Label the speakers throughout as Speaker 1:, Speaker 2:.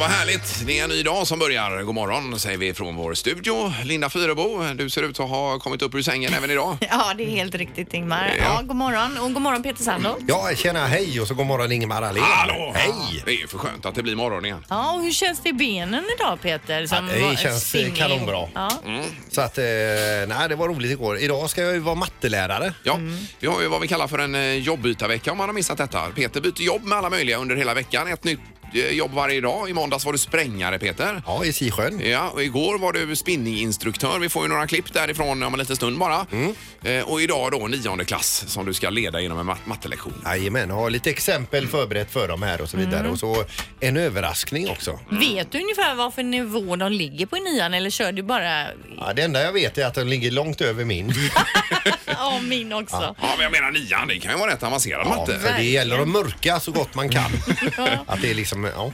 Speaker 1: vad härligt. Det är en ny dag som börjar. God morgon säger vi från vår studio. Linda Fyrebo, du ser ut att ha kommit upp ur sängen även idag.
Speaker 2: Ja, det är helt riktigt Ingmar.
Speaker 1: Ja.
Speaker 2: Ja. god morgon och god morgon Peter Sandholt.
Speaker 3: Ja, tjena, hej och så god morgon Ingemar Ahlén.
Speaker 1: Hallå!
Speaker 3: Hej!
Speaker 1: Det är ju för skönt att det blir morgon igen.
Speaker 2: Ja, och hur känns det i benen idag Peter? Som
Speaker 3: Ja, det
Speaker 2: var
Speaker 3: känns, eh,
Speaker 2: singel.
Speaker 3: kanonbra.
Speaker 2: Ja.
Speaker 3: Så att, eh, nej det var roligt igår. Idag ska jag ju vara mattelärare.
Speaker 1: Ja, vi har ju vad vi kallar för en eh, jobbytarvecka om man har missat detta. Peter byter jobb med alla möjliga under hela veckan. Ett nytt eh, jobb varje dag. I måndags var du sprängare Peter.
Speaker 3: Ja, i Sisjön.
Speaker 1: Ja, och igår var du spinninginstruktör. Vi får ju några klipp därifrån om en liten stund bara. Eh, och idag då nionde klass som du ska leda genom en mat- mattelektion.
Speaker 3: Jajamän, har lite exempel förberett för dem här och så vidare. Och så en överraskning också.
Speaker 2: Vet du ungefär vad för nivå de ligger på i nian eller kör du bara
Speaker 3: Ja, det enda jag vet är att den ligger långt över min.
Speaker 2: ja, min också?
Speaker 1: Ja, men jag menar nian, det kan ju vara rätt avancerad
Speaker 3: Ja,
Speaker 1: matte.
Speaker 3: för det gäller att mörka så gott man kan. Att det är liksom, ja.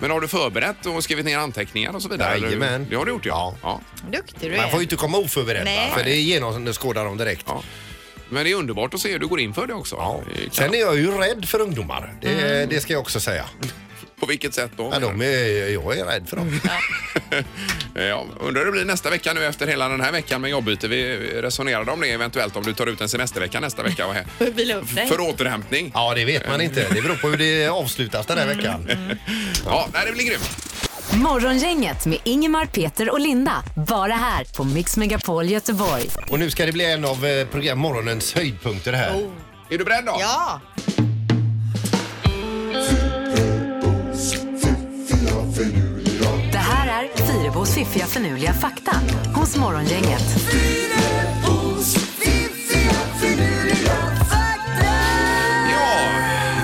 Speaker 1: Men har du förberett och skrivit ner anteckningar och så vidare? eller?
Speaker 3: Jajamän.
Speaker 1: Det har du gjort ja. ja.
Speaker 2: Duktig du
Speaker 3: Man
Speaker 2: är.
Speaker 3: får ju inte komma oförberedd va?
Speaker 2: Nej.
Speaker 3: För det genomskådar de direkt.
Speaker 1: Ja. Men det är underbart att se hur du går in för det också.
Speaker 3: Ja.
Speaker 1: Det kan-
Speaker 3: Sen är jag ju rädd för ungdomar. Det, det ska jag också säga.
Speaker 1: På vilket sätt då?
Speaker 3: Ja, de är, jag är rädd för dem.
Speaker 1: Eh, Ja, undrar hur det blir nästa vecka nu efter hela den här veckan med jobbyte. Vi resonerade om det eventuellt om du tar ut en semestervecka nästa vecka och he-
Speaker 2: Vila upp dig.
Speaker 1: för återhämtning.
Speaker 3: Ja, det vet man inte. Det beror på hur det avslutas den här
Speaker 2: Mm.
Speaker 3: veckan.
Speaker 1: Ja, nej, det blir grymt.
Speaker 4: Morgongänget med Ingemar, Peter och Linda. Bara här på Mix Megapol Göteborg.
Speaker 3: Och nu ska det bli en av eh, program morgonens höjdpunkter här.
Speaker 2: Oh.
Speaker 1: Är du beredd då?
Speaker 2: Ja,
Speaker 4: Det här är Fyrebos fiffiga förnuliga fakta hos Morgongänget.
Speaker 1: Ja,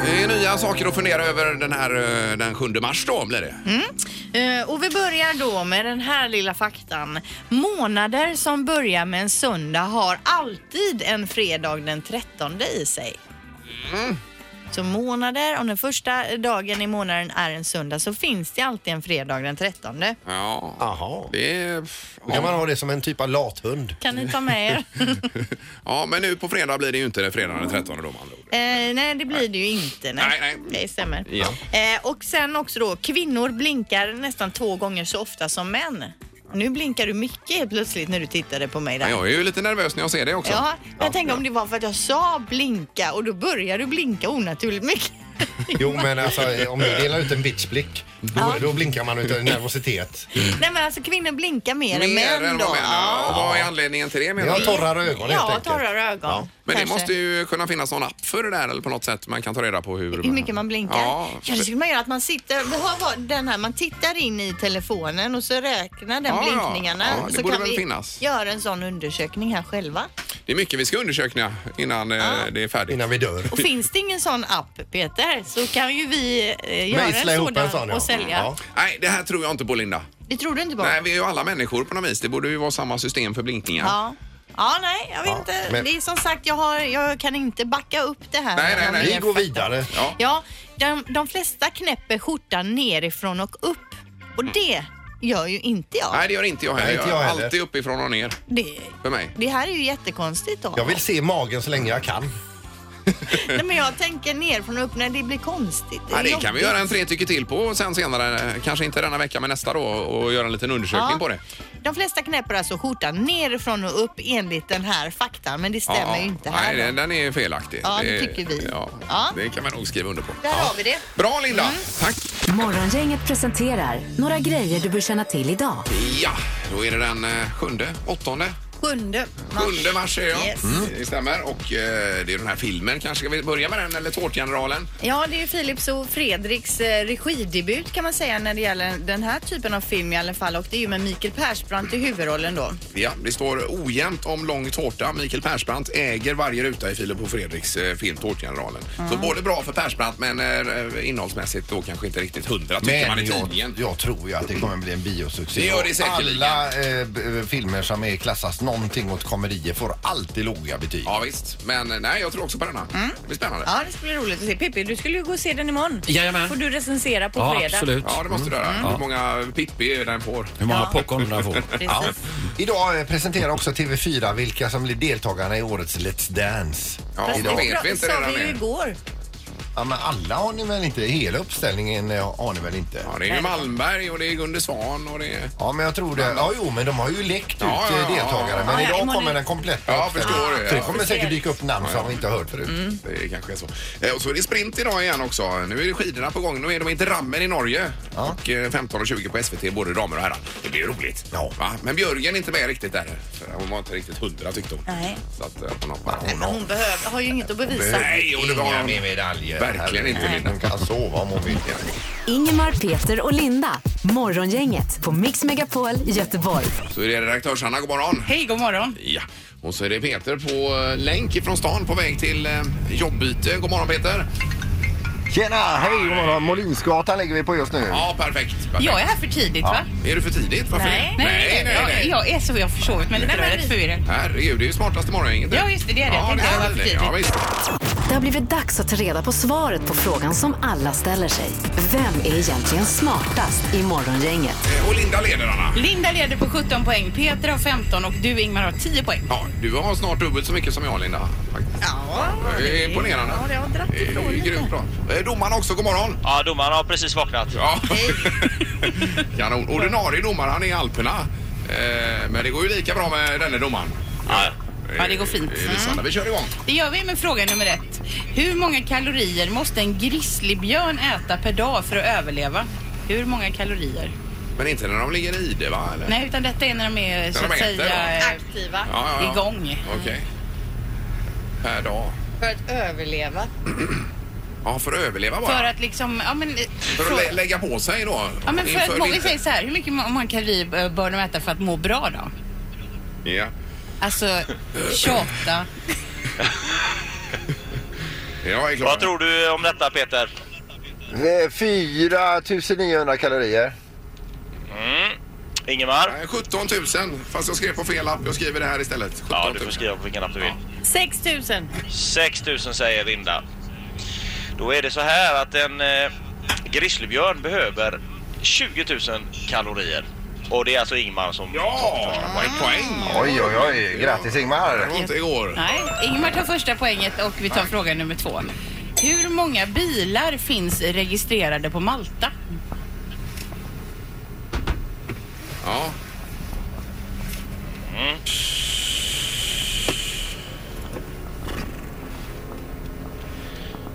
Speaker 1: det är nya saker att fundera över den här eh, den 7 mars då blir det.
Speaker 2: Eh, och vi börjar då med den här lilla faktan. Månader som börjar med en söndag har alltid en fredag den 13 i sig.
Speaker 1: Mm.
Speaker 2: Så månader, om den första dagen i månaden är en söndag så finns det alltid en fredag den 13.
Speaker 1: Ja.
Speaker 3: Aha.
Speaker 1: Det är...
Speaker 3: Då kan man ha det som en typ av lathund.
Speaker 2: Kan ni ta med er?
Speaker 1: Ja, men nu på fredag blir det ju inte det, fredag den 13 då med andra ord.
Speaker 2: Eh, nej, det blir det ju inte. Nej.
Speaker 1: Nej, nej.
Speaker 2: Det stämmer.
Speaker 1: Ja.
Speaker 2: Eh, och sen också då, kvinnor blinkar nästan två gånger så ofta som män. Nu blinkar du mycket helt plötsligt när du tittade på mig där.
Speaker 1: Men Jag är ju lite nervös när jag ser det också.
Speaker 2: Ja, men jag tänker om det var för att jag sa blinka och då börjar du blinka onaturligt mycket.
Speaker 3: Jo, men alltså eh, om du delar ut en bitchblick, då, då blinkar man utav nervositet.
Speaker 2: Nej men alltså kvinnor blinkar mer,
Speaker 1: Mer
Speaker 2: än män
Speaker 1: än
Speaker 2: då.
Speaker 1: vad män ja. Och vad är anledningen till det
Speaker 3: Jag
Speaker 1: menar
Speaker 3: har
Speaker 1: du?
Speaker 3: torrare ögon helt
Speaker 2: ja
Speaker 3: enkelt.
Speaker 2: torrare ögon.
Speaker 1: Men det
Speaker 2: kanske.
Speaker 1: måste ju kunna finnas någon app för det där eller på något sätt man kan ta reda på hur...
Speaker 2: Hur mycket man blinkar?
Speaker 1: Ja,
Speaker 2: Ja, det skulle man göra att man sitter, vi har var- den här, man tittar in i telefonen och så räknar den
Speaker 1: Ja, ja.
Speaker 2: blinkningarna.
Speaker 1: Ja, det
Speaker 2: så
Speaker 1: borde
Speaker 2: kan
Speaker 1: väl
Speaker 2: vi
Speaker 1: finnas.
Speaker 2: göra en sån undersökning här själva.
Speaker 1: det är mycket vi ska undersöka innan eh, det är färdigt.
Speaker 3: Innan vi dör.
Speaker 2: Och finns det ingen sån app Peter så kan ju vi eh, göra en
Speaker 3: Mejsla ihop
Speaker 2: sådan
Speaker 3: en sån, ja.
Speaker 2: och sälja.
Speaker 3: Ja.
Speaker 1: Nej, det här tror jag inte på Linda.
Speaker 2: Det tror du inte på?
Speaker 1: Nej, vi är ju alla människor på något vis. Det borde ju vara samma system för blinkningar.
Speaker 2: Ja. Ja, nej, jag vet
Speaker 3: Ja,
Speaker 2: inte.
Speaker 3: men-
Speaker 2: Det är som sagt, jag, har, jag kan inte backa upp det här.
Speaker 1: Nej, nej,
Speaker 2: Om
Speaker 1: nej.
Speaker 2: det
Speaker 3: Vi
Speaker 2: är
Speaker 3: går
Speaker 2: fakta.
Speaker 3: vidare.
Speaker 1: Ja.
Speaker 2: Ja, de, de flesta knäpper skjortan nerifrån och upp. Och det gör ju inte jag.
Speaker 1: Mm. Nej, det gör inte jag heller.
Speaker 3: Nej, inte jag heller.
Speaker 1: Alltid uppifrån och ner
Speaker 2: Det,
Speaker 1: för mig.
Speaker 2: det här är ju jättekonstigt då.
Speaker 3: Jag vill se magen så länge jag kan.
Speaker 2: Nej, men jag tänker nerifrån och upp. Nej, det blir konstigt.
Speaker 1: Ja, det kan vi
Speaker 2: jobbigt.
Speaker 1: göra en tre tycker till på sen senare. eh, Kanske inte denna vecka men nästa då och göra en liten undersökning
Speaker 2: Ja.
Speaker 1: på det.
Speaker 2: De flesta knäpper alltså skjortan nerifrån och upp enligt den här faktan, men det
Speaker 1: Ja,
Speaker 2: stämmer
Speaker 1: ja.
Speaker 2: ju inte här.
Speaker 1: Nej,
Speaker 2: då.
Speaker 1: den- den är felaktig.
Speaker 2: Ja, det tycker vi.
Speaker 1: Ja,
Speaker 2: Ja. Mm.
Speaker 1: Det kan man nog skriva under på.
Speaker 2: Där har vi det.
Speaker 1: Bra Linda! Tack!
Speaker 4: Morgongänget presenterar några grejer du bör känna till idag.
Speaker 1: Ja, då är det den eh, sjunde, åttonde,
Speaker 2: Sjunde mars.
Speaker 1: sjunde mars är jag.
Speaker 2: Yes.
Speaker 1: Mm. Det stämmer. Och eh, det är den här filmen. Kanske ska vi börja med den eller Tårtgeneralen?
Speaker 2: Ja, det är ju Philips och Fredriks eh, regidebut kan man säga när det gäller den här typen av film i alla fall. Och det är ju med Mikael Persbrandt i huvudrollen då.
Speaker 1: Ja, det står ojämnt om lång tårta. Mikael Persbrandt äger varje ruta i Filip och Fredriks eh, film Tårtgeneralen.
Speaker 2: Mm.
Speaker 1: Så både bra för Persbrandt men eh, innehållsmässigt då kanske inte riktigt hundra tycker man i tidningen.
Speaker 5: jag, jag tror ju att det kommer bli en biosuccé.
Speaker 1: Det gör det säkerligen.
Speaker 5: Alla eh, b- eh, filmer som är klassas någonting åt komedier får alltid låga betyg.
Speaker 1: Ja visst, men eh, nej jag tror också på denna.
Speaker 2: Mm.
Speaker 1: Det blir spännande.
Speaker 2: Ja, det skulle bli roligt att se. Pippi, du skulle ju gå och se den imorgon.
Speaker 6: Jajamän.
Speaker 2: Får du recensera på
Speaker 6: Ja,
Speaker 2: fredag.
Speaker 6: absolut.
Speaker 1: Ja, det måste du göra.
Speaker 5: Mm.
Speaker 1: Hur många Pippi den får.
Speaker 6: Hur många popcorn den får.
Speaker 2: Precis.
Speaker 5: Idag eh, presenterar också TV4 vilka som blir deltagarna i årets Let's Dance.
Speaker 1: Ja,
Speaker 2: Fast
Speaker 1: då
Speaker 2: det
Speaker 1: vet vi inte
Speaker 2: sa
Speaker 1: redan
Speaker 2: vi ju
Speaker 1: det.
Speaker 2: igår.
Speaker 5: Ja, men alla har ni väl inte? Hela uppställningen eh, har ni väl inte?
Speaker 1: Ja, det är ju Malmberg och det är Gunde Svan och det är...
Speaker 5: Ja, men jag tror det. Ja, jo, men de har ju läckt ut
Speaker 1: Ja, ja,
Speaker 5: eh,
Speaker 1: ja, ja.
Speaker 5: deltagare.
Speaker 7: Ja,
Speaker 5: Men
Speaker 7: ja,
Speaker 5: idag
Speaker 7: imorgon-
Speaker 5: kommer den kompletta
Speaker 1: Ja,
Speaker 5: uppställningen.
Speaker 1: förstår det.
Speaker 5: Så det
Speaker 1: Ja,
Speaker 5: kommer
Speaker 1: det
Speaker 5: säkert
Speaker 7: ser-
Speaker 5: dyka upp namn som vi inte har hört förut.
Speaker 1: Det är kanske så. Eh, Och så är det sprint idag igen också. Nu är det skidorna på gång. Nu är de inte rammen i Norge.
Speaker 5: Ja.
Speaker 1: Och eh, 15 och 20 på SVT, både damer och herrar. Det blir roligt.
Speaker 5: Ja.
Speaker 1: Va? Men Björgen är inte med riktigt där. För Hon var inte riktigt hundra tyckte hon.
Speaker 7: Nej.
Speaker 1: Så att eh, hon hoppar.
Speaker 5: Hon har
Speaker 7: Hon behöver, har ju inget att bevisa.
Speaker 1: Nej, och det var
Speaker 5: inga
Speaker 1: hon.
Speaker 5: mer medaljer.
Speaker 1: Verkligen inte,
Speaker 5: Herregud,
Speaker 1: Linda.
Speaker 5: Hon kan sova om hon vill.
Speaker 4: Ingemar, Peter och Linda. Morgongänget på Mix Megapol Göteborg.
Speaker 1: Så är det redaktörs-Hanna, god morgon.
Speaker 2: Hej, god morgon.
Speaker 1: Ja. Och så är det Peter på eh, länk från stan på väg till eh, jobbyte. God morgon Peter.
Speaker 5: Tjena! Hej! God morgon. Molinsgatan ligger vi på just nu.
Speaker 1: Ja, perfekt. perfekt.
Speaker 2: Jag är här för tidigt, va?
Speaker 1: Är du för tidigt? Varför
Speaker 7: Nej.
Speaker 1: det?
Speaker 2: Nej, jag, jag är så jag har försovit mig lite.
Speaker 7: Nej,
Speaker 2: Jag är
Speaker 7: men
Speaker 2: rätt
Speaker 7: vi-
Speaker 2: förvirrad.
Speaker 1: Herregud, det är ju smartaste morgonen.
Speaker 2: Ja, just det, det är det. Jag tänkte jag var för tidigt.
Speaker 1: Ja, visst.
Speaker 4: Det har blivit dags att ta reda på svaret på frågan som alla ställer sig. Vem är egentligen smartast i morgongänget?
Speaker 1: Eh, Och Linda leder, Anna.
Speaker 2: Linda leder på 17 poäng, Peter har 15 och du Ingmar har 10 poäng.
Speaker 1: Ja, du har snart dubbelt så mycket som jag, Linda. faktiskt.
Speaker 7: Ja,
Speaker 1: Det är imponerande.
Speaker 7: Ja, det har dratt
Speaker 1: Det
Speaker 7: ifrån
Speaker 1: är Grymt
Speaker 7: lite.
Speaker 1: bra. Eh, Domaren också, god morgon.
Speaker 8: Ja, domaren har precis vaknat.
Speaker 1: Ja. Kanon. Ordinarie domare, han är i Alperna. Eh, Men det går ju lika bra med denne domaren.
Speaker 8: Ja.
Speaker 2: Ja, det går fint. Mm.
Speaker 1: Eh, Lysande. Vi kör igång.
Speaker 2: Det gör vi med fråga nummer ett. Hur många kalorier måste en grizzlybjörn äta per dag för att överleva? Hur många kalorier?
Speaker 1: Men inte när de ligger i det, va? Eller?
Speaker 2: Nej, utan detta är när de är så
Speaker 1: När de
Speaker 2: att
Speaker 1: äter,
Speaker 2: säga... eh,
Speaker 7: Aktiva
Speaker 1: Ja, ja, ja.
Speaker 2: Igång.
Speaker 1: Okej. Per dag.
Speaker 7: för att överleva.
Speaker 1: Ja, för att överleva bara.
Speaker 2: För att liksom... Ja, men, eh,
Speaker 1: För
Speaker 2: frå-
Speaker 1: att lä lägga på sig då?
Speaker 2: ja, men för
Speaker 1: Inför
Speaker 2: att många
Speaker 1: vintern.
Speaker 2: säger så här, hur mycket må- många kalorier eh, bör de äta för att må bra då?
Speaker 1: Ja.
Speaker 2: Alltså 28.
Speaker 1: Jag är klar.
Speaker 8: Vad tror du om detta Peter?
Speaker 5: Eh, 4 900 kalorier.
Speaker 8: Ingemar?
Speaker 1: Nej, 17 000, fast jag skrev på fel lapp. Jag skriver det här istället. 17 000.
Speaker 8: Ja, du får skriva på vilken app du vill.
Speaker 7: 6 000.
Speaker 8: 6000 säger Linda. Då är det så här att en eh, grizzlybjörn behöver 20 000 kalorier. Och det är alltså Ingmar som...
Speaker 1: Ja, en poäng.
Speaker 5: Oj, oj, oj. Grattis
Speaker 1: Det
Speaker 5: Ingmar.
Speaker 1: var inte igår.
Speaker 2: Nej, Ingmar tar första poänget och vi tar fråga nummer två. Hur många bilar finns registrerade på Malta?
Speaker 1: Ja.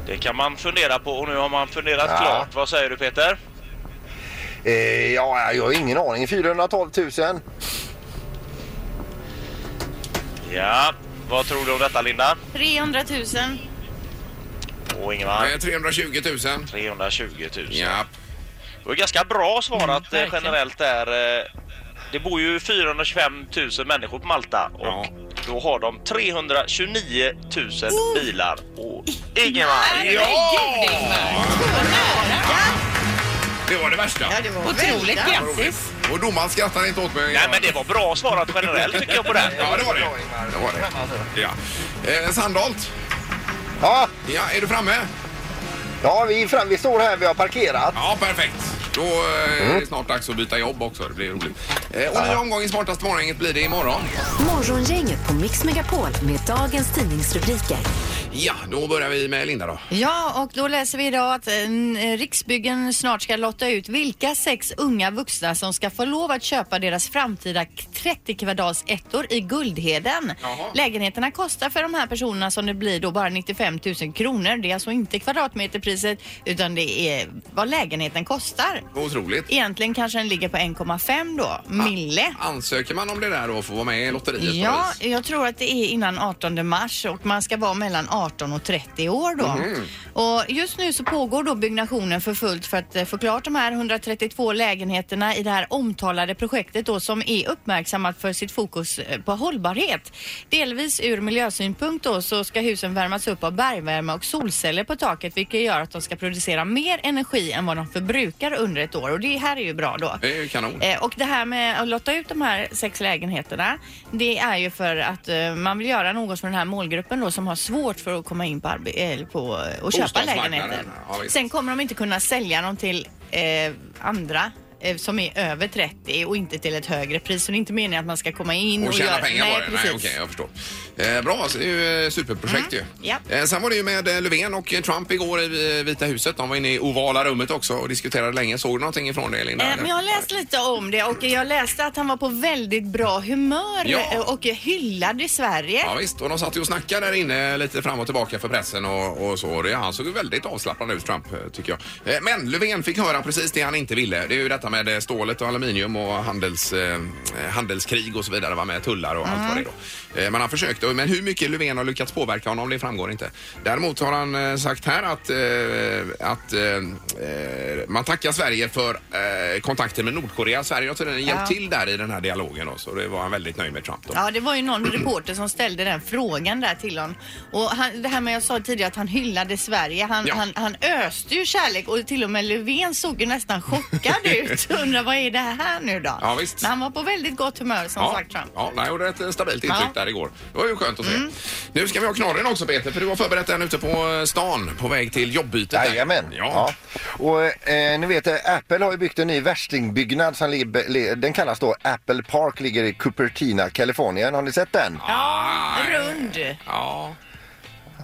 Speaker 8: Det kan man fundera på och nu har man funderat
Speaker 5: Ja.
Speaker 8: klart. Vad säger du Peter?
Speaker 5: Eh, ja, jag har ingen aning. 412 000.
Speaker 8: Ja, vad tror du om detta Linda?
Speaker 7: 300 000.
Speaker 8: Och Ingemar?
Speaker 1: Eh, 320 000.
Speaker 8: 320 000.
Speaker 1: Ja.
Speaker 8: Det var ganska bra svarat
Speaker 2: Mm,
Speaker 8: eh,
Speaker 2: verkligen.
Speaker 8: generellt där. Eh, Det bor ju 425 000 människor på Malta och
Speaker 1: Ja.
Speaker 8: då har de 329 000
Speaker 2: Mm.
Speaker 8: bilar. Och Ingemar!
Speaker 2: Herregud Ingmar!
Speaker 1: Det var det värsta.
Speaker 7: Ja, det var
Speaker 2: Otroligt
Speaker 7: väldigt.
Speaker 2: grattis!
Speaker 1: Och domaren skrattar inte åt mig.
Speaker 8: Nej men det var bra svarat generellt tycker jag på den.
Speaker 1: Ja, det var det. det, var det. Ja. Eh, Sandholt,
Speaker 5: Ja,
Speaker 1: ja, är du framme?
Speaker 5: ja vi, är fram, vi står här. Vi har parkerat.
Speaker 1: Ja, perfekt. Då eh, är det snart dags att byta jobb också. Det blir roligt. Eh, och ny omgång i Smartaste morgongänget blir det imorgon.
Speaker 4: Morgongänget på Mix Megapol med dagens tidningsrubriker.
Speaker 1: Ja, då börjar vi med Linda då.
Speaker 7: Ja, och då läser vi idag att eh, Riksbyggen snart ska lotta ut vilka sex unga vuxna som ska få lov att köpa deras framtida 30 kvadrats ettor i Guldheden.
Speaker 1: Jaha.
Speaker 7: Lägenheterna kostar för de här personerna som det blir då bara 95 000 kronor. Det är alltså inte kvadratmeterpriset utan det är vad lägenheten kostar.
Speaker 1: Otroligt.
Speaker 7: Egentligen kanske den ligger på 1,5 då, mille.
Speaker 1: Ansöker man om det där då och får vara med i lotteriet?
Speaker 7: Ja,
Speaker 1: på något vis?
Speaker 7: jag tror att det är innan 18 mars och man ska vara mellan 18 och 30 år då. Och just nu så pågår då byggnationen för fullt för att eh, få klart de här 132 lägenheterna i det här omtalade projektet då som är uppmärksammat för sitt fokus eh, på hållbarhet. Delvis ur miljösynpunkt då så ska husen värmas upp av bergvärme och solceller på taket vilket gör att de ska producera mer energi än vad de förbrukar under ett år och det här är ju bra då.
Speaker 1: Det är ju kanon.
Speaker 7: Eh, Och det här med att lotta ut de här sex lägenheterna, det är ju för att eh, man vill göra något för den här målgruppen då som har svårt för att komma in på, arbe- eller på eh, och köpa
Speaker 1: Bostadsmarknaden,
Speaker 7: lägenheter.
Speaker 1: ja, visst.
Speaker 7: Sen kommer de inte kunna sälja dem till eh, andra
Speaker 2: eh, som är över 30 och inte till ett högre pris. Så det är inte meningen att man ska komma in och,
Speaker 1: Och tjäna
Speaker 2: göra...
Speaker 1: pengar
Speaker 2: Nej,
Speaker 1: bara? Nej, okej,
Speaker 2: precis. Mm.
Speaker 1: jag förstår. Eh, bra, så det är ju eh, superprojekt ju.
Speaker 2: ja.
Speaker 1: Eh, sen var det ju med eh, Löfven och eh, Trump igår i eh, Vita huset. De var inne i ovala rummet också och diskuterade länge. Såg du någonting ifrån det, Linda?
Speaker 2: Eh,
Speaker 1: eller?
Speaker 2: Men jag har läst lite om det och jag läste att han var på väldigt bra humör
Speaker 1: Ja.
Speaker 2: eh, och hyllade Sverige.
Speaker 1: Ja, visst, och de satt ju och snackade där inne lite fram och tillbaka för pressen och, och så. Det, han såg ju väldigt avslappnad ut, Trump, eh, tycker jag. Eh, Men Löfven fick höra precis det han inte ville. Det är ju detta med eh, stålet och aluminium och handels, eh, handelskrig och så vidare, va, med tullar och allt vad det är då. Eh, Men han försökte, men hur mycket Löfven har lyckats påverka honom, det framgår inte. Däremot har han eh, sagt här att, eh, att eh, eh, man tackar Sverige för eh, kontakten med Nordkorea. Sverige har tydligen hjälpt till där i den här dialogen då, så det var han väldigt nöjd med, Trump. Då.
Speaker 2: Ja, det var ju någon reporter som ställde den frågan där till honom. Och han, det här med jag sa tidigare att han hyllade Sverige. Han,
Speaker 1: Ja.
Speaker 2: han, han öste ju kärlek och till och med Löfven såg ju nästan chockad ut. Undrar vad är det här nu då?
Speaker 1: Ja, visst.
Speaker 2: Men han var på väldigt gott humör som sagt Trump.
Speaker 1: Ja, nej, och det är ett eh, stabilt intryck
Speaker 2: Ja. Mm.
Speaker 1: där igår. Det var ju skönt att se. Nu ska vi ha knorren också Peter, för du har förberett den ute på eh, stan på väg till jobbytet. där.
Speaker 5: Jajamän.
Speaker 1: Ja.
Speaker 5: Och eh, ni vet, eh, Apple har ju byggt en ny värstingbyggnad som lib- le- den kallas då Apple Park, ligger i Cupertino, Kalifornien. Har ni sett den?
Speaker 1: Ja.
Speaker 2: Rund.
Speaker 1: Ja.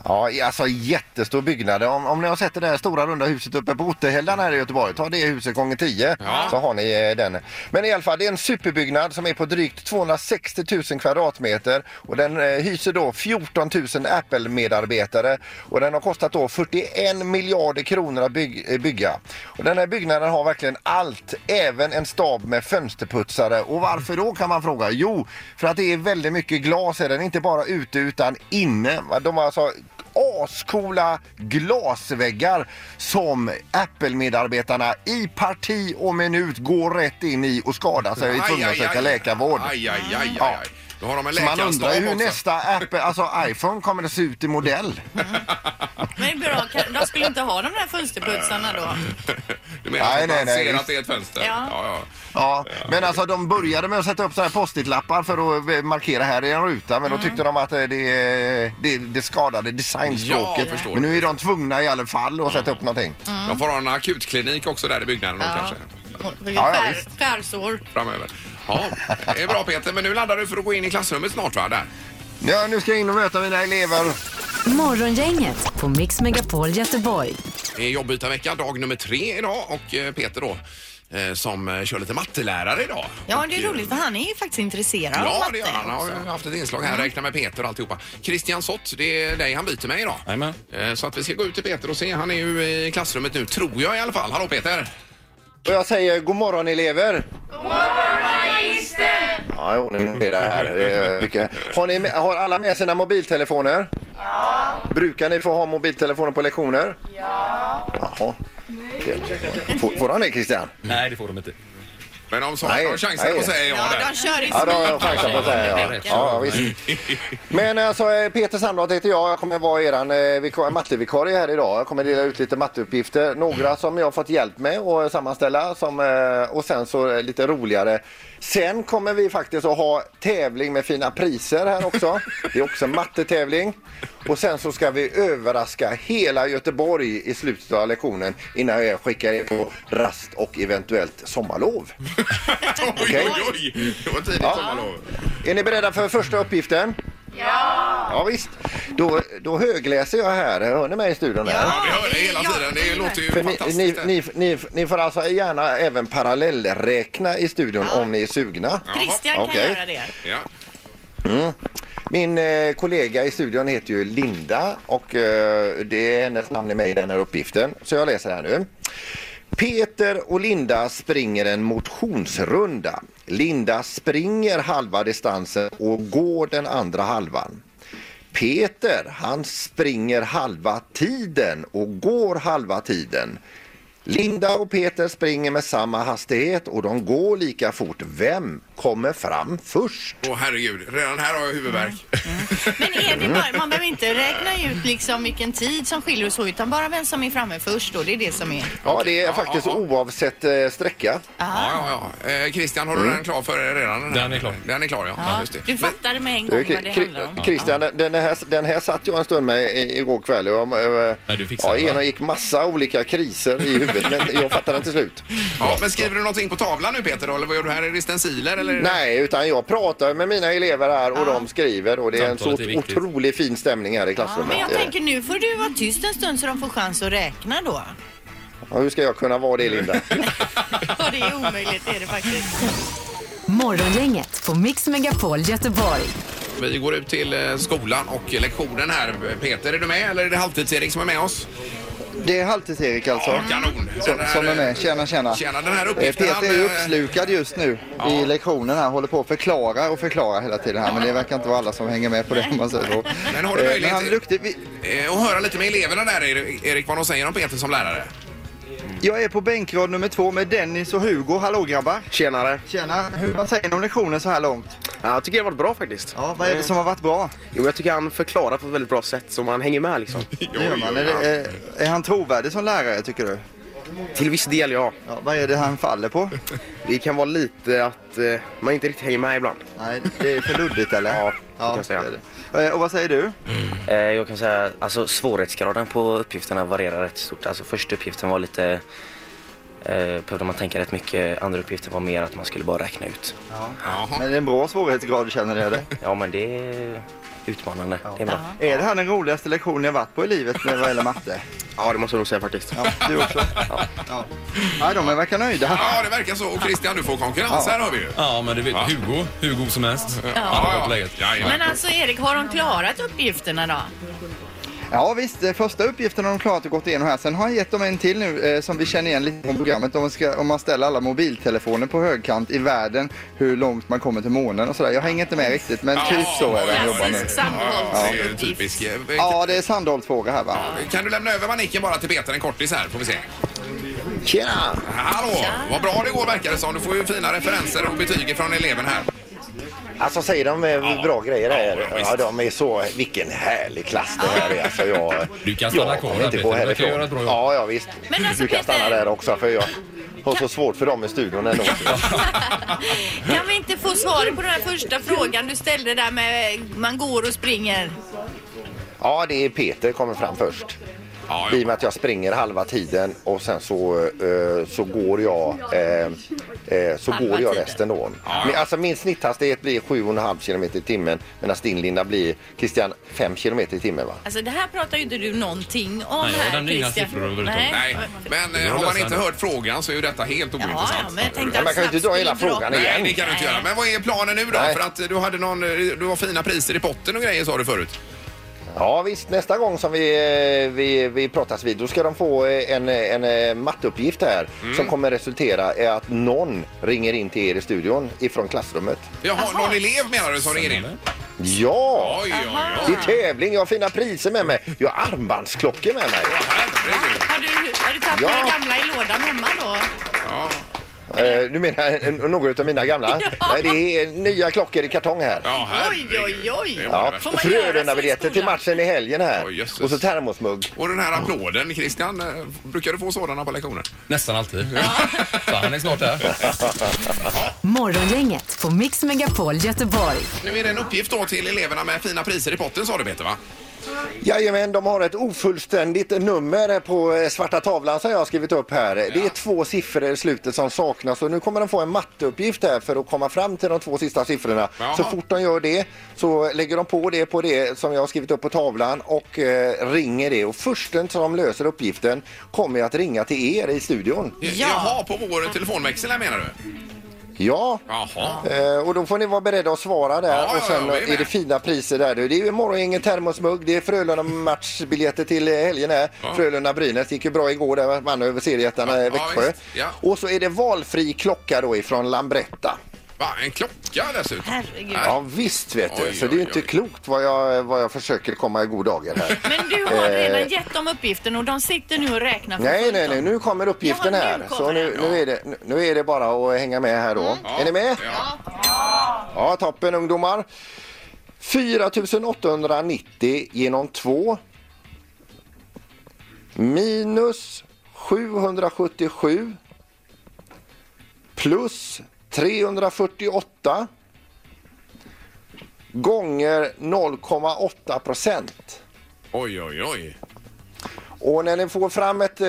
Speaker 5: Ja, i- alltså jättestor byggnad. Om, om ni har sett det där stora runda huset uppe på Otterhällan här i Göteborg, ta det huset gånger 10
Speaker 1: Ja.
Speaker 5: så har ni eh, den. Men i alla fall, det är en superbyggnad som är på drygt 260 000 kvadratmeter och den eh, hyser då 14 000 Apple-medarbetare och den har kostat då 41 miljarder kronor att byg- eh, bygga. Och den här byggnaden har verkligen allt, även en stab med fönsterputsare. Och varför då kan man fråga? Jo, för att det är väldigt mycket glas i den, inte bara ute utan inne. De har alltså ascoola glasväggar som Apple-medarbetarna i parti och minut går rätt in i och skadar sig och är tvungna att söka läkarvård.
Speaker 1: Aj, aj, aj, aj,
Speaker 5: Ja.
Speaker 1: aj. Då har de en
Speaker 5: Så man
Speaker 1: läkarstab
Speaker 5: undrar hur
Speaker 1: också.
Speaker 5: nästa Apple, alltså iPhone kommer att se ut i modell.
Speaker 2: Men bra, kan- de skulle inte ha de där fönsterputsarna då?
Speaker 1: Eh, Du menar
Speaker 5: Nej,
Speaker 1: att
Speaker 5: nej,
Speaker 1: man
Speaker 5: nej.
Speaker 1: ser att det är ett fönster?
Speaker 2: Ja.
Speaker 1: ja,
Speaker 5: Ja, men alltså de började med att sätta upp sådana här post-it-lappar för att eh, markera här i en ruta men då tyckte de att eh, det, det, det skadade
Speaker 1: Ja,
Speaker 5: designspråket.
Speaker 1: jag förstår.
Speaker 5: men nu är de tvungna i alla fall att sätta upp någonting.
Speaker 2: Mm.
Speaker 1: De får ha en akutklinik också där i byggnaden då, kanske.
Speaker 5: Ja, ja,
Speaker 2: Skär-
Speaker 5: visst.
Speaker 2: Skärsår.
Speaker 1: Framöver. Ja, det är bra Peter, men nu laddar du för att gå in i klassrummet snart va? Där.
Speaker 5: Ja, nu ska jag in och möta mina elever.
Speaker 4: Morgongänget på Mix Megapol Göteborg.
Speaker 1: Det är Eh, jobbytarvecka, dag nummer tre idag och eh, Peter då eh, som eh, kör lite mattelärare idag.
Speaker 2: Ja,
Speaker 1: Och,
Speaker 2: det är
Speaker 1: eh,
Speaker 2: roligt för han är ju faktiskt intresserad av
Speaker 1: Ja,
Speaker 2: matte
Speaker 1: det gör han. Han har
Speaker 2: också.
Speaker 1: ju haft ett inslag här, räkna med Peter och alltihopa. Christian Sott, det är dig han byter med idag.
Speaker 7: Jajamän.
Speaker 1: Eh, Så att vi ska gå ut till Peter och se. Han är ju eh, i klassrummet nu, tror jag i alla fall. Hallå Peter!
Speaker 5: Och jag säger god morgon elever. God morgon magister! Ja, jo, nu är det här. Det är mycket. Har, ni, med- har alla med sina mobiltelefoner? Ja. Brukar ni få ha mobiltelefoner på lektioner? Ja. Jaha. Får, får han det Christian?
Speaker 7: Nej, det får de inte.
Speaker 1: Men om så
Speaker 5: Nej,
Speaker 1: har chansen
Speaker 5: nej.
Speaker 1: att säga ja
Speaker 2: Ja, de
Speaker 1: där.
Speaker 2: kör i
Speaker 5: Ja, då har
Speaker 2: smyg.
Speaker 5: jag chansen på att säga ja. ja, ja visst. Men alltså eh, Peter Sandblad heter jag. Jag kommer vara eran eh, vika- mattevikarie här idag. Jag kommer dela ut lite matteuppgifter. Några som jag har fått hjälp med att sammanställa som, eh, och sen så eh, lite roligare. Sen kommer vi faktiskt att ha tävling med fina priser här också. Det är också en mattetävling. Och sen så ska vi överraska hela Göteborg i slutet av lektionen innan jag skickar er på rast och eventuellt sommarlov.
Speaker 1: Oj,
Speaker 5: Okej.
Speaker 1: oj, oj! Det var tidigt
Speaker 5: Ja.
Speaker 1: sommarlov.
Speaker 5: Är ni beredda för första uppgiften? Ja! Ja visst. Då, då högläser jag här. Hör ni mig i studion? Här?
Speaker 1: Ja, vi hör det hela tiden. Det låter ju
Speaker 5: För ni,
Speaker 1: fantastiskt.
Speaker 5: ni,
Speaker 1: det.
Speaker 5: ni, ni, ni får alltså gärna även parallellräkna i studion om ni är sugna.
Speaker 2: Christian kan
Speaker 5: Okej.
Speaker 2: göra det.
Speaker 1: Ja.
Speaker 5: Min eh, kollega i studion heter ju Linda och eh, det är hennes namn är med i den här uppgiften. Så jag läser här nu. Peter och Linda springer en motionsrunda. Linda springer halva distansen och går den andra halvan. Peter, han springer halva tiden och går halva tiden. Linda och Peter springer med samma hastighet och de går lika fort. Vem kommer fram först.
Speaker 1: Åh herregud, redan här har jag huvudvärk.
Speaker 2: Men är det bara, man behöver inte räkna ut liksom vilken tid som skiljer och så utan bara vem som är framme först då. Det är det som är.
Speaker 5: Ja, det är
Speaker 1: Ja,
Speaker 5: faktiskt
Speaker 1: ja, ja.
Speaker 5: oavsett eh, sträcka.
Speaker 1: Ja, ja, ja. Eh, Christian, har du den klar för er redan? här?
Speaker 7: Den är klar.
Speaker 1: Den är klar, ja.
Speaker 2: Ja,
Speaker 1: Just det.
Speaker 2: du fattade med en
Speaker 5: Du,
Speaker 2: gång vad det handlar om.
Speaker 5: Christian, den- den här, den här satt jag en stund med i- igår kväll. Jag, eh,
Speaker 7: Nej, du fixade
Speaker 5: ja,
Speaker 7: det, va?
Speaker 5: igenom gick massa olika kriser i huvudet, men jag fattade den till slut.
Speaker 1: Ja, men skriver du någonting på tavlan nu Peter, eller vad gör du här? Är det stenciler eller?
Speaker 5: Nej, utan jag pratar med mina elever här och de skriver och det är en så
Speaker 7: Samtalet är viktigt.
Speaker 5: otroligt fin stämning här i
Speaker 2: Men
Speaker 5: klassrummet.
Speaker 2: jag tänker nu får du vara tyst en stund så de får chans att räkna då.
Speaker 5: Ja, hur ska jag kunna vara det, Linda?
Speaker 2: Ja, det är omöjligt det är det faktiskt.
Speaker 4: Morgongänget på Mix Megapol Göteborg.
Speaker 1: Vi går ut till eh, skolan och lektionen här. Peter, är du med eller är det Halvtids-Erik som är med oss?
Speaker 9: Det är halvtids-Erik alltså.
Speaker 1: Ja, kanon. eh,
Speaker 9: Som, som är med. Tjena, tjena.
Speaker 1: Tjena, den här
Speaker 9: Eh,
Speaker 1: uppgiften.
Speaker 9: Peter är ju
Speaker 1: hade-
Speaker 9: uppslukad just nu i lektionen här. Håller på att förklara och förklara hela tiden här. Men det verkar inte vara alla som hänger med på det om man säger så.
Speaker 1: Men har du
Speaker 9: Eh,
Speaker 1: möjlighet-
Speaker 9: Men han är duktig. Vi-
Speaker 1: Eh, Och höra lite med eleverna där, Erik, Erik, vad de säger om Peter som lärare.
Speaker 9: Jag är på bänkrad nummer två med Dennis och Hugo. Hallå grabbar!
Speaker 10: Tjenare!
Speaker 9: Tjena! Hur, vad säger ni om lektionen så här långt?
Speaker 10: Ja, jag tycker det har varit bra faktiskt.
Speaker 9: Ja, vad är det som har varit bra?
Speaker 10: Jo, jag tycker han förklarar på ett väldigt bra sätt så man hänger med liksom.
Speaker 9: Det gör man. Är, det, är, är han trovärdig som lärare tycker du?
Speaker 10: Till viss del ja.
Speaker 9: Ja, vad är det han faller på?
Speaker 10: Det kan vara lite att eh, man inte riktigt hänger med ibland.
Speaker 9: Nej, det är för luddigt eller?
Speaker 10: Ja, det kan jag säga.
Speaker 9: det är det. Eh, Och vad säger du?
Speaker 10: Eh, jag kan säga alltså svårighetsgraden på uppgifterna varierar rätt stort. Alltså första uppgiften var lite... eh, behövde man tänka rätt mycket. Andra uppgiften var mer att man skulle bara räkna ut.
Speaker 1: Jaha.
Speaker 9: Men det är en bra svårighetsgrad känner ni eller?
Speaker 10: Ja, men det är utmanande. Det är bra.
Speaker 9: Är det här den roligaste lektionen jag varit på i livet när det gäller matte?
Speaker 10: Ja, det måste jag nog säga faktiskt.
Speaker 9: Ja, du också? Ja. Nej, de verkar nöjda.
Speaker 1: Ja, det verkar så. Och Christian, du får konkurrens här har vi ju.
Speaker 7: Ja, men det vet Hugo. Hur god som helst. Ja. Ja, ja.
Speaker 1: Jajamän.
Speaker 2: Men alltså Erik, har de klarat uppgifterna då?
Speaker 9: Ja visst, eh, första uppgiften har de klarat och gått igenom här. Sen har jag gett dem en till nu eh, som vi känner igen lite från programmet. Om man, ska, om man ställer alla mobiltelefoner på högkant i världen, hur långt man kommer till månen och sådär. Jag hänger inte med riktigt men typ så är det de jobbar nu.
Speaker 2: Klassisk samtalsuppgift.
Speaker 1: Typisk. eh,
Speaker 9: Ja, det är Sandholt-fråga här va?
Speaker 1: Kan du lämna över manicken bara till Peter en kortis här får vi se.
Speaker 5: Tjena!
Speaker 1: Hallå! Vad bra det går verkar det som. Du får ju fina referenser och betyg från eleven här.
Speaker 5: Alltså säger de eh, bra grejer här?
Speaker 1: ja,
Speaker 5: Ja,
Speaker 1: visst.
Speaker 5: de är så... Vilken härlig klass det här är. Alltså, jag,
Speaker 7: Du kan stanna
Speaker 5: jag
Speaker 7: kvar
Speaker 5: kommer
Speaker 7: där,
Speaker 5: inte
Speaker 7: Peter.
Speaker 5: gå
Speaker 7: Du verkar
Speaker 5: härifrån.
Speaker 7: göra ett bra jobb.
Speaker 5: Ja, ja visst.
Speaker 2: Men alltså,
Speaker 5: du kan
Speaker 2: Peter-
Speaker 5: stanna där också för jag har så svårt för dem i studion ändå.
Speaker 2: Kan vi inte få svaret på den här första frågan du ställde där med man går och springer?
Speaker 5: Ja, det är Peter kommer fram först.
Speaker 1: Ja,
Speaker 5: I
Speaker 1: ja.
Speaker 5: och med att jag springer halva tiden och sen så, eh, så går jag, eh, eh, så
Speaker 2: Halva
Speaker 5: går jag
Speaker 2: tiden.
Speaker 5: resten då. Men, alltså, min snitthastighet blir 7,5 km i timmen medan din Linda blir Christian 5 km i timmen va?
Speaker 2: Alltså det här pratar ju inte du någonting om
Speaker 7: Nej, jag
Speaker 2: här
Speaker 7: nämnde inga
Speaker 2: Christian.
Speaker 7: siffror överhuvudtaget.
Speaker 2: Nej.
Speaker 1: Nej, men eh, har man inte hört frågan så är ju detta helt
Speaker 2: Ja, ja,
Speaker 1: ointressant.
Speaker 2: men jag tänkte
Speaker 5: Men man kan ju
Speaker 2: att
Speaker 5: inte dra hela
Speaker 2: snabbsprint-
Speaker 5: frågan
Speaker 1: Nej,
Speaker 5: igen.
Speaker 1: det kan du inte göra. Men vad är planen nu då?
Speaker 5: Nej.
Speaker 1: För att eh, du hade någon, eh, du har fina priser i potten och grejer sa du förut.
Speaker 5: Ja visst, nästa gång som vi, eh, vi, vi pratas vid då ska de få eh, en, eh, en eh, matteuppgift här som kommer resultera i att någon ringer in till er i studion ifrån klassrummet.
Speaker 1: Jaha, någon elev menar du som ringer in? Oj,
Speaker 5: Ja!
Speaker 1: oj, oj.
Speaker 5: Det är tävling, jag har fina priser med mig. Jag har armbandsklockor med mig.
Speaker 1: Herregud.
Speaker 2: Har du, har du tagit
Speaker 5: Ja.
Speaker 2: några gamla i lådan hemma då?
Speaker 1: Ja.
Speaker 5: Eh, du menar eh, några av mina gamla? Nej, det är nya klockor i kartong här.
Speaker 1: Ja,
Speaker 2: Oj,
Speaker 1: herregud.
Speaker 2: oj, oj.
Speaker 5: Ja.
Speaker 2: Får
Speaker 5: Och
Speaker 2: man göra så i
Speaker 5: Frölunda-biljetter till
Speaker 2: skolan?
Speaker 5: matchen i helgen här.
Speaker 1: Oj, jösses.
Speaker 5: och så termosmugg.
Speaker 1: Och den här applåden, Christian, eh, brukar du få sådana på lektioner?
Speaker 7: Nästan alltid. Så han är snart här.
Speaker 4: Morgongänget på Mix Megapol Göteborg.
Speaker 1: Nu är det en uppgift då till eleverna med fina priser i potten sa du Peter va?
Speaker 5: Jajamän, de har ett ofullständigt nummer på eh, svarta tavlan som jag har skrivit upp här. Det är två siffror i slutet som saknas och nu kommer de få en matteuppgift här för att komma fram till de två sista siffrorna.
Speaker 1: Jaha.
Speaker 5: Så fort de gör det så lägger de på det på det som jag har skrivit upp på tavlan och eh, ringer det. Och försten som löser uppgiften kommer jag att ringa till er i studion.
Speaker 1: Ja. Jaha, på vår telefonväxel här menar du?
Speaker 5: Ja,
Speaker 1: Jaha.
Speaker 5: Eh, Och då får ni vara beredda att svara där.
Speaker 1: Ja,
Speaker 5: och sen
Speaker 1: ja, ja, vi är
Speaker 5: är,
Speaker 1: med.
Speaker 5: det fina priser där. du. Det är ju morgongänget termosmugg, det är Frölunda-matchbiljetter till eh, helgen här.
Speaker 1: Ja.
Speaker 5: Frölunda-Brynäs gick ju bra igår där, vann över
Speaker 1: Ja,
Speaker 5: seriejättarna eh, Växjö.
Speaker 1: ja, visst. Ja.
Speaker 5: Och så är det valfri klocka då ifrån Lambretta.
Speaker 1: Va, en klocka dessutom?
Speaker 2: Herregud.
Speaker 1: Nej.
Speaker 5: Ja visst vet du,
Speaker 1: Oj,
Speaker 5: så det är ju
Speaker 1: oj,
Speaker 5: inte
Speaker 1: oj.
Speaker 5: klokt vad jag, vad jag försöker komma i god dagar här.
Speaker 2: Men du
Speaker 9: Eh.
Speaker 2: har redan gett dem uppgiften och de sitter nu och räknar. för
Speaker 5: Nej,
Speaker 2: fullt
Speaker 5: nej,
Speaker 2: då.
Speaker 5: nej, nu kommer uppgiften
Speaker 2: Jaha, nu
Speaker 5: här.
Speaker 2: kommer
Speaker 5: så nu,
Speaker 2: den.
Speaker 5: nu, är det, nu är det bara att hänga med här då. Är ni med?
Speaker 1: Ja.
Speaker 5: Ja, toppen ungdomar. 4890 genom 2 minus 777 plus 348 gånger 0,8 procent.
Speaker 1: Oj, oj, oj.
Speaker 5: Och när ni får fram ett eh,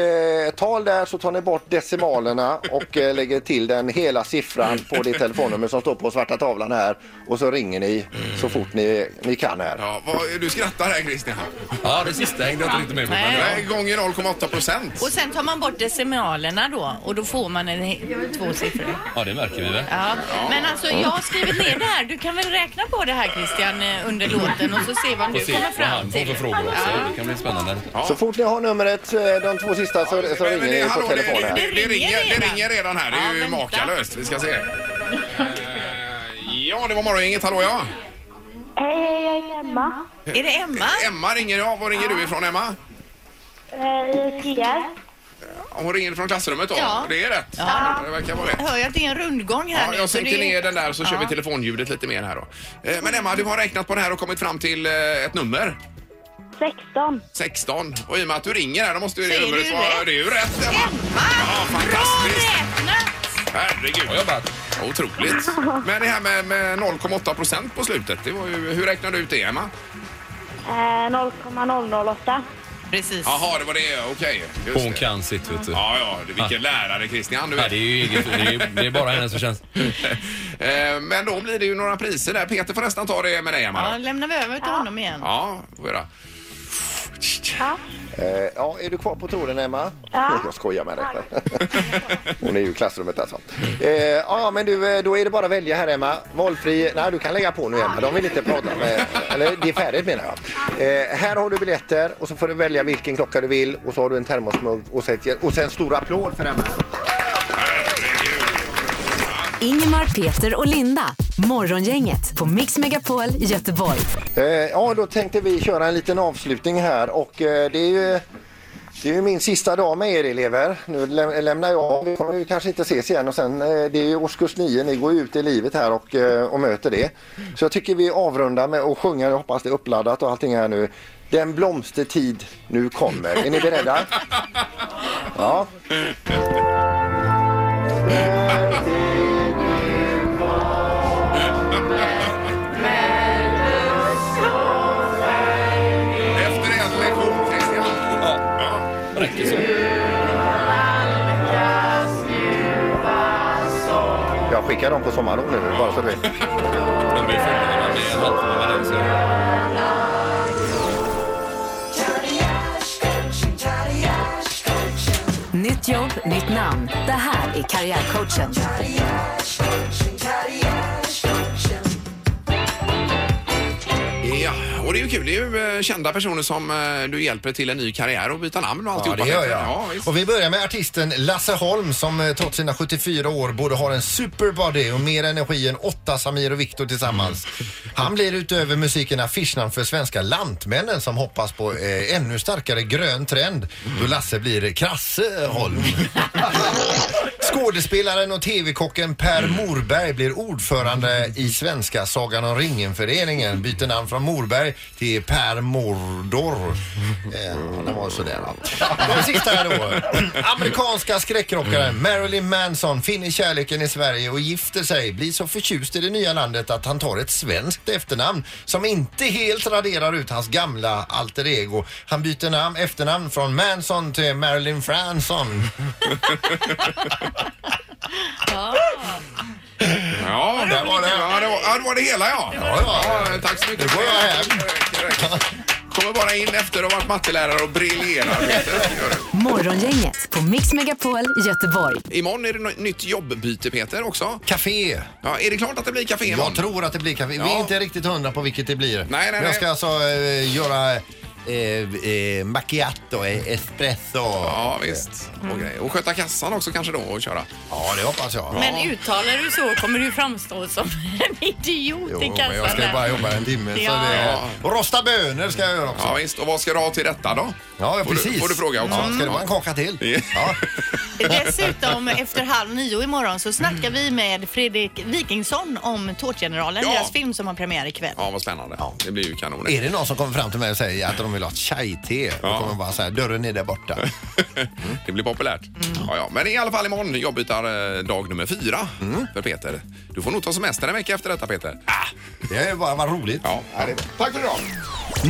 Speaker 5: tal där så tar ni bort decimalerna och eh, lägger till den hela siffran på det telefonnummer som står på svarta tavlan här. Och så ringer ni så fort ni, ni kan här.
Speaker 1: Ja, vad, du skrattar här Christian.
Speaker 7: Ja, det sista hängde jag inte riktigt med på.
Speaker 2: Nej.
Speaker 1: Nej, gånger 0,8 procent.
Speaker 2: Och sen tar man bort decimalerna då och då får man en, he- två siffror.
Speaker 7: Ja, det märker vi väl.
Speaker 2: Ja. Men alltså jag har skrivit ner det här. Du kan väl räkna på det här Christian eh, under låten och så se vad
Speaker 7: Får
Speaker 2: du
Speaker 7: se
Speaker 2: kommer
Speaker 7: vad
Speaker 2: fram
Speaker 7: han får för
Speaker 2: till.
Speaker 7: frågor också. Det kan bli spännande.
Speaker 5: Så fort ni har numret, eh, de två sista, så, så
Speaker 1: Men, men
Speaker 5: ringer
Speaker 1: det,
Speaker 5: ni på
Speaker 1: hallå, det,
Speaker 5: telefonen.
Speaker 1: det,
Speaker 5: här.
Speaker 1: det,
Speaker 2: ringer
Speaker 1: ringer, det
Speaker 2: redan.
Speaker 1: ringer redan här. Det är
Speaker 2: Ja,
Speaker 1: ju
Speaker 2: vänta.
Speaker 1: makalöst. Vi ska se. Eh, Ja, det var morgongänget. Hallå ja.
Speaker 11: Hej, hej, jag är Emma
Speaker 2: Är det Emma?
Speaker 1: Emma ringer jag. Var ringer du ifrån Emma?
Speaker 11: eh, i Tierp.
Speaker 1: Hon ringer från klassrummet då.
Speaker 2: Ja.
Speaker 1: Det är rätt.
Speaker 2: Ja.
Speaker 1: Det verkar vara rätt.
Speaker 2: Hör jag att det är en rundgång här
Speaker 1: Ja,
Speaker 2: nu?
Speaker 1: jag
Speaker 2: så
Speaker 1: sänker
Speaker 2: det-
Speaker 1: ner den där så kör
Speaker 2: Ja.
Speaker 1: vi telefonljudet lite mer här då. Eh, Men Emma, du har räknat på det här och kommit fram till eh, ett nummer.
Speaker 11: 16.
Speaker 1: 16. Och i och med att du ringer här, då måste ju det
Speaker 2: Säger
Speaker 1: numret
Speaker 2: du
Speaker 1: vara...
Speaker 2: rätt?
Speaker 1: Det är ju rätt Emma!
Speaker 2: Emma!
Speaker 1: Ja, fantastiskt!
Speaker 2: Bra räknat!
Speaker 1: Herregud!
Speaker 7: Bra jobbat.
Speaker 1: Otroligt! Men det här med, med 0,8 procent på slutet, det var ju, hur räknar du ut det Emma?
Speaker 11: Eh, 0,008.
Speaker 2: Precis.
Speaker 1: Jaha, det var det, okej. Just
Speaker 7: Hon
Speaker 1: det.
Speaker 7: kan sitt, vet du.
Speaker 1: Ja, ja, det- vilken
Speaker 2: Ah.
Speaker 1: lärare Christian du
Speaker 7: Nej,
Speaker 1: vet.
Speaker 7: det är ju eget. Det är, ju- det är bara hennes förtjänst.
Speaker 1: Eh, Men då blir det ju några priser där. Peter får nästan ta det med dig Emma.
Speaker 2: Ja,
Speaker 1: då.
Speaker 2: lämnar vi över till honom igen.
Speaker 1: Ja, får vi göra.
Speaker 5: Eh, ja, är du kvar på tråden Emma?
Speaker 11: Ja.
Speaker 5: Jag skojar med dig. Hon är ju i klassrummet alltså. Eh, ja, men du, eh, då är det bara att välja här Emma. Valfri. Nej, du kan lägga på nu Emma. De vill inte prata med... Eller det är färdigt menar jag. Eh, här har du biljetter och så får du välja vilken klocka du vill och så har du en termosmugg och, så ett- och sen stor applåd för Emma.
Speaker 4: Ingemar, Peter och Linda. Morgongänget på Mix Megapol Göteborg.
Speaker 5: Eh, ja, då tänkte vi köra en liten avslutning här och eh, det är ju det är ju min sista dag med er elever. Nu läm- lämnar jag av. Vi kommer ju kanske inte ses igen och sen eh, det är ju årskurs 9. Ni går ju ut i livet här och, eh, och möter det. Så jag tycker vi avrundar med att sjunga. Jag hoppas det är uppladdat och allting här nu. Den blomstertid nu kommer. Är ni beredda? Ja.
Speaker 1: Efter en lektion Christian. Ja.
Speaker 7: Räcker så.
Speaker 5: Jag skickar dem på sommarlov nu bara så du vet.
Speaker 7: De blir fulla när man blir en halvtimme med den. så-
Speaker 4: Nytt jobb, nytt namn. Det här är Karriärcoachen.
Speaker 1: ja, och det är ju kul. Det är ju eh, kända personer som eh, du hjälper till en ny karriär och byta namn och
Speaker 3: Ja,
Speaker 1: alltihopa.
Speaker 3: det gör jag.
Speaker 1: Ja, visst.
Speaker 3: och vi börjar med artisten Lasse Holm som eh, trots sina 74 år både har en superbody och mer energi än åtta Samir och Viktor tillsammans. Han blir utöver musiken affischnamn för svenska Lantmännen som hoppas på eh, ännu starkare grön trend då Lasse blir Krasse Holm. Skådespelaren och TV-kocken Per Morberg blir ordförande i svenska Sagan om ringen-föreningen. Byter namn från Morberg till Per Mordor. Eh, ja, det var sådär. ja. Den sista här då. Amerikanska skräckrockaren Marilyn Manson finner kärleken i Sverige och gifter sig. Blir så förtjust i det nya landet att han tar ett svenskt efternamn som inte helt raderar ut hans gamla alter ego. Han byter namn, efternamn från Manson till Marilyn Franson.
Speaker 1: Ja, där var det. Ja, det var, ja, det var det hela ja.
Speaker 3: Ja, ja.
Speaker 1: tack så mycket.
Speaker 3: Nu går jag hem.
Speaker 1: Kommer bara in efter att ha varit mattelärare och briljerar. vet du. Gör det.
Speaker 4: Morgongänget på Mix Megapol Göteborg.
Speaker 1: Imorgon är det nå- nytt jobbbyte Peter också.
Speaker 3: Café.
Speaker 1: Ja, är det klart att det blir café imorgon?
Speaker 3: Jag tror att det blir kaffe. Vi
Speaker 1: Ja.
Speaker 3: är inte riktigt hundra på vilket det blir.
Speaker 1: nej,
Speaker 3: Men jag ska
Speaker 1: nej.
Speaker 3: alltså eh, göra
Speaker 5: eh, eh, macchiato, eh, espresso.
Speaker 1: Ja, visst. Och, grejer. och sköta kassan också kanske då och köra.
Speaker 5: Ja, det hoppas jag.
Speaker 7: Men uttalar du så kommer du framstå som en idiot i
Speaker 5: Jo,
Speaker 7: kassan.
Speaker 5: men jag ska ju
Speaker 7: där.
Speaker 5: bara jobba en timme. Så
Speaker 7: Ja.
Speaker 5: det, och rosta bönor ska jag göra också.
Speaker 1: Ja, visst. Och vad ska du ha till detta då?
Speaker 5: Ja,
Speaker 1: Får du-
Speaker 5: precis.
Speaker 1: får du fråga också.
Speaker 5: Ja, ska det vara en kaka till? Ja.
Speaker 7: Dessutom efter halv nio imorgon så snackar vi med Fredrik Wikingsson om Tårtgeneralen,
Speaker 1: Ja.
Speaker 7: deras film som har premiär ikväll.
Speaker 1: Ja, vad spännande. Det blir ju kanon.
Speaker 5: Är det någon som kommer fram till mig och säger att de vill ha ett chai-te? Då kommer jag bara säga dörren är där borta.
Speaker 1: Det blir populärt.
Speaker 5: Mm.
Speaker 1: Ja, ja. Men i alla fall imorgon jobbytar eh, dag nummer fyra
Speaker 5: Mm.
Speaker 1: för Peter. Du får nog ta semester en vecka efter detta Peter.
Speaker 5: Det är ju bara vad roligt.
Speaker 1: Ja.
Speaker 5: Ah, Tack för idag!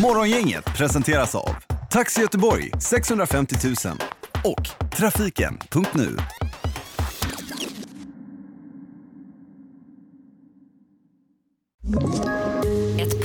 Speaker 12: Morgongänget presenteras av Taxi Göteborg 650 000 och Trafiken.nu.
Speaker 4: Ett